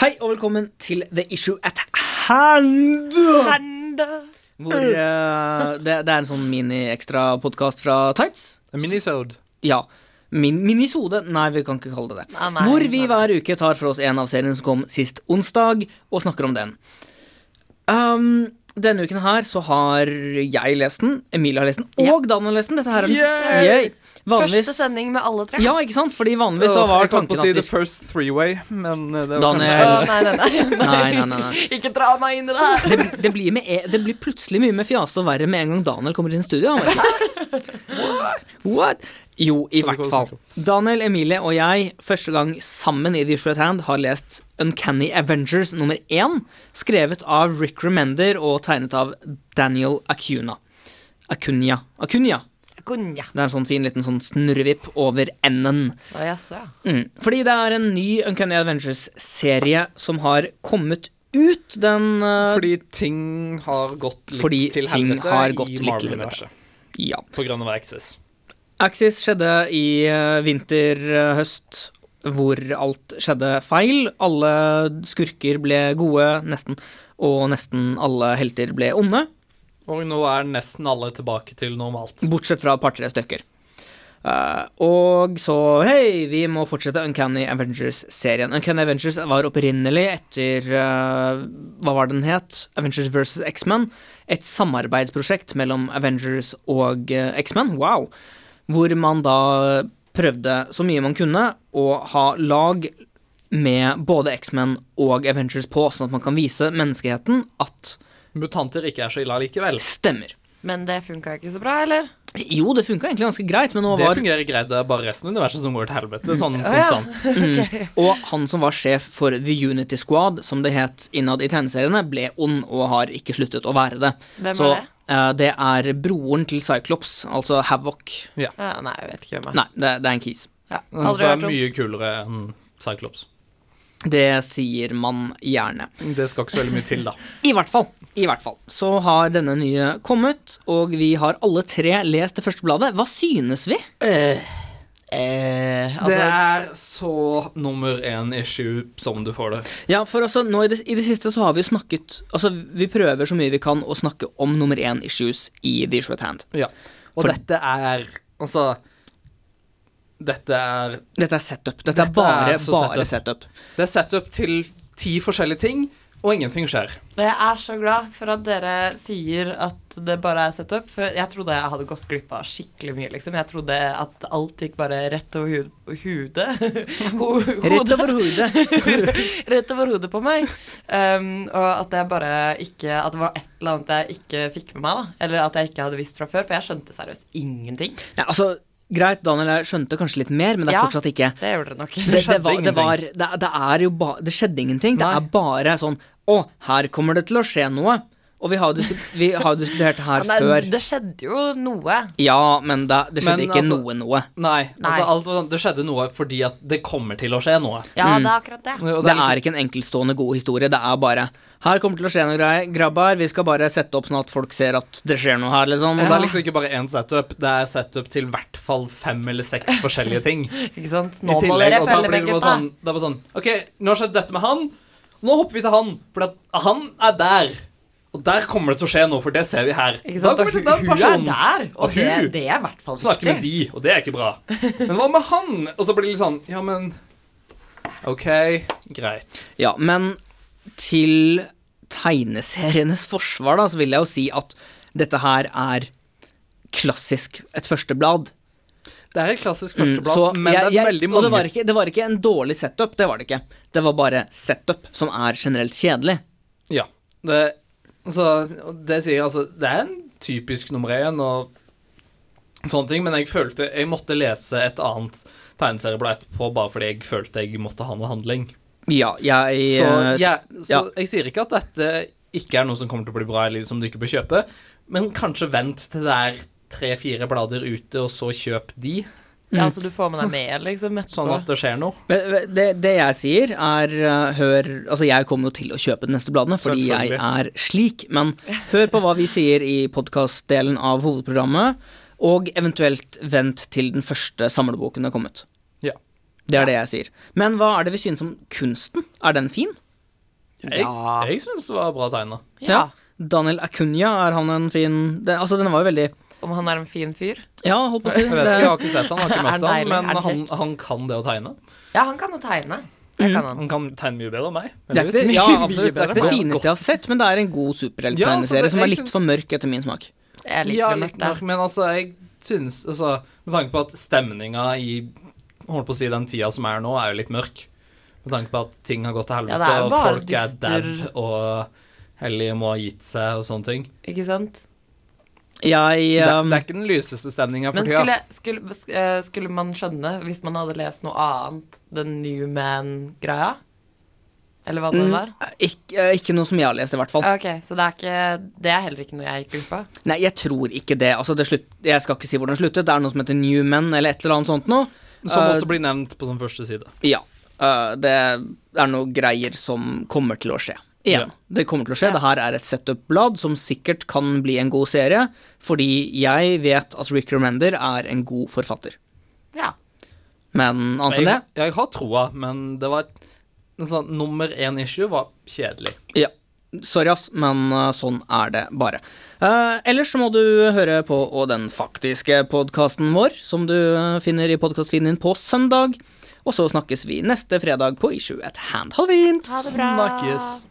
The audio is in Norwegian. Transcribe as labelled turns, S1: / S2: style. S1: Hei og velkommen til The Issue at Hand. Hvor eh, det, det er en sånn mini-ekstra-podkast fra Tights.
S2: Minisode.
S1: Ja. Min, minisode? Nei, vi kan ikke kalle det det.
S3: Ah, nei,
S1: Hvor vi
S3: nei.
S1: hver uke tar for oss en av seriene som kom sist onsdag, og snakker om den. Um, denne uken her så har jeg lest den, Emilie har lest den, og Dan har lest den. Dette her er den
S2: Yay!
S1: Yay!
S3: Første
S1: Vanligvis
S3: sending med alle tre.
S1: Ja, ikke sant? Fordi vanligvis så var
S2: jeg holdt
S1: tanken
S2: på å si
S1: at
S2: The
S1: vi
S2: First Three-Way, men eh, det var
S1: Daniel.
S3: Å, nei, nei, nei,
S1: Nei, nei, nei, nei.
S3: Ikke dra meg inn i det her.
S1: det, det, blir med, e- det blir plutselig mye mer fjaste og verre med en gang Daniel kommer inn i studio. har jeg merket. What? Jo, i
S2: Så vi
S1: hvert
S2: kan
S1: fall.
S2: snakke
S1: Daniel, Emilie og jeg, første gang sammen i The Issue at Hand, har lest Uncanny Avengers nummer én, skrevet av Rick Remender og tegnet av Daniel Acuna. Acunia. Acunia.
S3: Gunja.
S1: Det er en sånn fin liten sånn snurrevipp over n-en.
S3: Å, jaså, ja.
S1: Mm. Fordi det er en ny Uncanny Avengers-serie som har kommet ut. Den
S2: Kanskje.
S1: eh,
S2: Fordi ting har gått litt
S1: Fordi
S2: til
S1: ting
S2: helvete
S1: har gått litt
S2: i
S1: til
S2: Marvel-universet.
S1: Ja.
S2: På grunn av Access.
S1: Axis skjedde i eh, vinter, eh, høst, hvor alt skjedde feil. Alle skurker ble gode, nesten, og nesten alle helter ble onde,
S2: Og nå er nesten alle tilbake til normalt.
S1: bortsett fra et par-tre stykker. Eh, og så, hei, vi må fortsette Uncanny Avengers-serien. Uncanny Avengers var opprinnelig etter eh, Hva var den het? Avengers versus X-Men. Et samarbeidsprosjekt mellom Avengers og eh, X-Men. Wow! Hvor man da prøvde så mye man kunne å ha lag med både X-Men og Avengers på, sånn at man kan vise menneskeheten at
S2: Mutanter ikke er så ille likevel.
S1: stemmer.
S3: Men det funka ikke så bra, eller?
S1: Jo, det funka egentlig ganske greit, men nå
S2: Det
S1: var Mm.
S2: fungerer greit, det er bare resten av universet som går til helvete. Sånn
S3: Å, ja.
S2: konstant.
S1: Og han som var sjef for The Unity Squad, som det het innad i tegneseriene, ble ond og har ikke sluttet å være det.
S3: Hvem
S1: Så
S3: er det?
S1: eh, det er broren til Cyclops, altså Havoc.
S3: Ja, nei, jeg vet ikke hvem jeg er.
S1: Nei, det, det er en kis.
S3: Ja,
S2: Så
S3: aldri
S2: er
S3: hørt om.
S2: mye kulere enn Cyclops.
S1: Det sier man gjerne.
S2: Det skal ikke så veldig mye til, da.
S1: I hvert fall. I hvert fall. Så har denne nye kommet, og vi har alle tre lest det første bladet. Hva synes vi?
S3: Eh,
S2: Det
S3: altså,
S2: er så nummer én-issue som du får det.
S1: Ja, for altså, nå i det, i det siste så har vi jo snakket Altså, vi prøver så mye vi kan å snakke om nummer én-issues i The Issue at Hand.
S2: Ja. Og
S1: For-
S2: dette er Altså Dette er
S1: Dette er setup. Dette,
S2: Dette
S1: er bare,
S2: er så
S1: bare setup.
S2: Det er setup til ti forskjellige ting, og ingenting skjer.
S3: jeg er så glad for at dere sier at det bare er setup. For jeg trodde jeg hadde gått glipp av skikkelig mye, liksom. Jeg trodde at alt gikk bare rett over hud, hudet. Ho,
S1: Rett
S3: hodet.
S1: over hodet.
S3: rett over hodet på meg. Um, og at jeg bare ikke At det var et eller annet jeg ikke fikk med meg, da. Eller at jeg ikke hadde visst fra før. For jeg skjønte seriøst ingenting.
S1: Nei, altså, greit, Daniel jeg skjønte kanskje litt mer, men det er
S3: Ja.
S1: fortsatt ikke
S3: Det gjorde dere nok.
S1: Det, det,
S2: skjedde
S1: var, det,
S2: ingenting.
S1: var, det, det er jo ba, Det skjedde ingenting. Det
S2: Nei.
S1: er bare sånn Å, her kommer det til å skje noe. Og vi har jo diskutert, vi har jo diskutert det her
S3: Men det,
S1: før.
S3: det skjedde jo noe.
S1: Ja, men det, det skjedde
S2: Men
S1: ikke
S2: altså-
S1: noe noe.
S2: Nei.
S3: Nei.
S2: Altså, alt var sånn, det skjedde noe fordi at det kommer til å skje noe.
S3: Mm. Ja, det er akkurat det.
S2: Og liksom-
S1: Det er ikke en enkeltstående god historie. Det er bare Her kommer det til å skje noe greier. Grabbar, vi skal bare sette opp sånn at folk ser at det skjer noe her, liksom.
S2: Og det er liksom ikke bare én setup, det er setup til i hvert fall fem eller seks forskjellige ting. I
S3: Ikke sant? Nå må
S2: tillegg,
S3: dere
S2: og da
S3: følge
S2: blir
S3: med,
S2: det bare
S3: gutta.
S2: sånn, det er bare sånn OK, nå har skjedd dette med han. Nå hopper vi til han, for at han er der. Og der kommer det til å skje noe, for det ser vi her.
S3: Ikke sant?
S2: Da
S3: Og
S2: kommer
S3: hun,
S2: det til
S3: hun
S2: den
S3: er
S2: personen.
S3: der,
S2: Og
S3: og det,
S2: hun-
S3: det er i hvert fall
S2: Snakke med
S3: viktig.
S2: de, og det er ikke bra. Men hva med han? Og så blir det litt sånn Ja, men OK, greit.
S1: Ja, men til tegneserienes forsvar, da, så vil jeg jo si at dette her er klassisk et førsteblad.
S2: Det er et klassisk
S1: Mm,
S2: førsteblad,
S1: så
S2: men
S1: jeg-
S2: det
S1: jeg-
S2: er veldig
S1: Og
S2: mange
S1: det var, ikke, det var ikke en dårlig setup, det var det ikke. Det var bare setup som er generelt kjedelig.
S2: Ja. Det, altså, og det sier jeg, altså Det er en typisk nummer én og sånne ting, men jeg følte jeg måtte lese et annet tegneserieblad etterpå bare fordi jeg følte jeg måtte ha noe handling.
S1: Ja, jeg
S2: Så,
S1: eh,
S2: jeg, så
S1: ja.
S2: jeg sier ikke at dette ikke er noe som kommer til å bli bra, eller som du ikke bør kjøpe, men kanskje vent til det er tre-fire blader ute, og så kjøp de, Mm.
S3: Ja, så du får med deg med, liksom. etterpå.
S2: sånn at det skjer noe.
S1: Men Det, det jeg sier, er eh, hør Altså, jeg kommer jo til å kjøpe de neste bladene fordi jeg er slik, men hør på hva vi sier i podkastdelen av hovedprogrammet, og eventuelt vent til den første samleboken er kommet.
S2: Ja.
S1: Det er det jeg sier. Men hva er det vi synes om kunsten? Er den fin?
S2: Jeg, jeg syns det var bra tegna.
S3: ja.
S1: Daniel Acuna, er han en fin det, Altså, den var jo veldig
S3: Om han er en fin fyr?
S1: Ja, holdt på å si.
S2: Jeg vet ikke, jeg har ikke sett han, jeg har ikke
S3: Er han
S2: møtt han,
S3: deilig? Er
S2: men
S3: han
S2: han, han kan det å tegne.
S3: Ja, han kan jo tegne. Det kan han.
S2: Han kan tegne mye bedre enn meg.
S1: Det er, ikke det,
S2: heldigvis.
S1: ja, absolutt, det er ikke det
S2: Godt-
S1: fineste jeg har sett, men det er en god
S2: Ja, altså,
S1: superhelttegneserie
S2: det-
S1: som var
S2: jeg
S1: litt
S2: syns-
S1: for mørk etter min smak.
S3: Jeg liker
S2: Ja,
S3: det
S2: litt
S3: litt der.
S2: mørk, men altså, jeg synes altså, Med tanke på at stemninga i holdt på å si, den tida som er nå, er jo litt mørk. Med tanke på at ting har gått til
S3: Ja,
S2: helvete,
S3: det er jo
S2: og
S3: bare
S2: folk
S3: dyster-
S2: er dau, og hellige må ha gitt seg, og sånne ting.
S3: Ikke sant?
S1: Jeg
S2: Det,
S1: um,
S2: det er ikke den lyseste stemninga
S3: Men
S2: for tida.
S3: skulle, skulle, sk- eh, skulle man skjønne, hvis man hadde lest noe annet, den New Man-greia? Eller hva det
S1: mm,
S3: var?
S1: ikke, eh, ikke noe som jeg har lest, i hvert fall.
S3: Ok, Så det er, ikke, det er heller ikke noe jeg gikk glipp av?
S1: Nei, jeg tror ikke det. Altså, det slutt, jeg skal ikke si hvordan det sluttet. Det er noe som heter Newman, eller et eller annet sånt noe.
S2: Som
S1: Eh,
S2: også blir nevnt på sånn første side.
S1: Ja. eh, det er noe greier som kommer til å skje. Igjen.
S2: Ja.
S1: Det kommer til å skje.
S3: Ja.
S1: Det her er et setup-blad som sikkert kan bli en god serie, fordi jeg vet at Rick Remender er en god forfatter.
S3: Ja.
S1: Men annet enn det
S2: Jeg, jeg har troa, men det var et- en sånn, nummer én issue var kjedelig.
S1: Ja. Sorry, ass, men eh, sånn er det bare. Eh, ellers så må du høre på og den faktiske podkasten vår, som du eh, finner i podkastfinen din på søndag. Og så snakkes vi neste fredag på Issue at hand. Ha det fint!
S3: Ha det bra.
S2: Snakkes.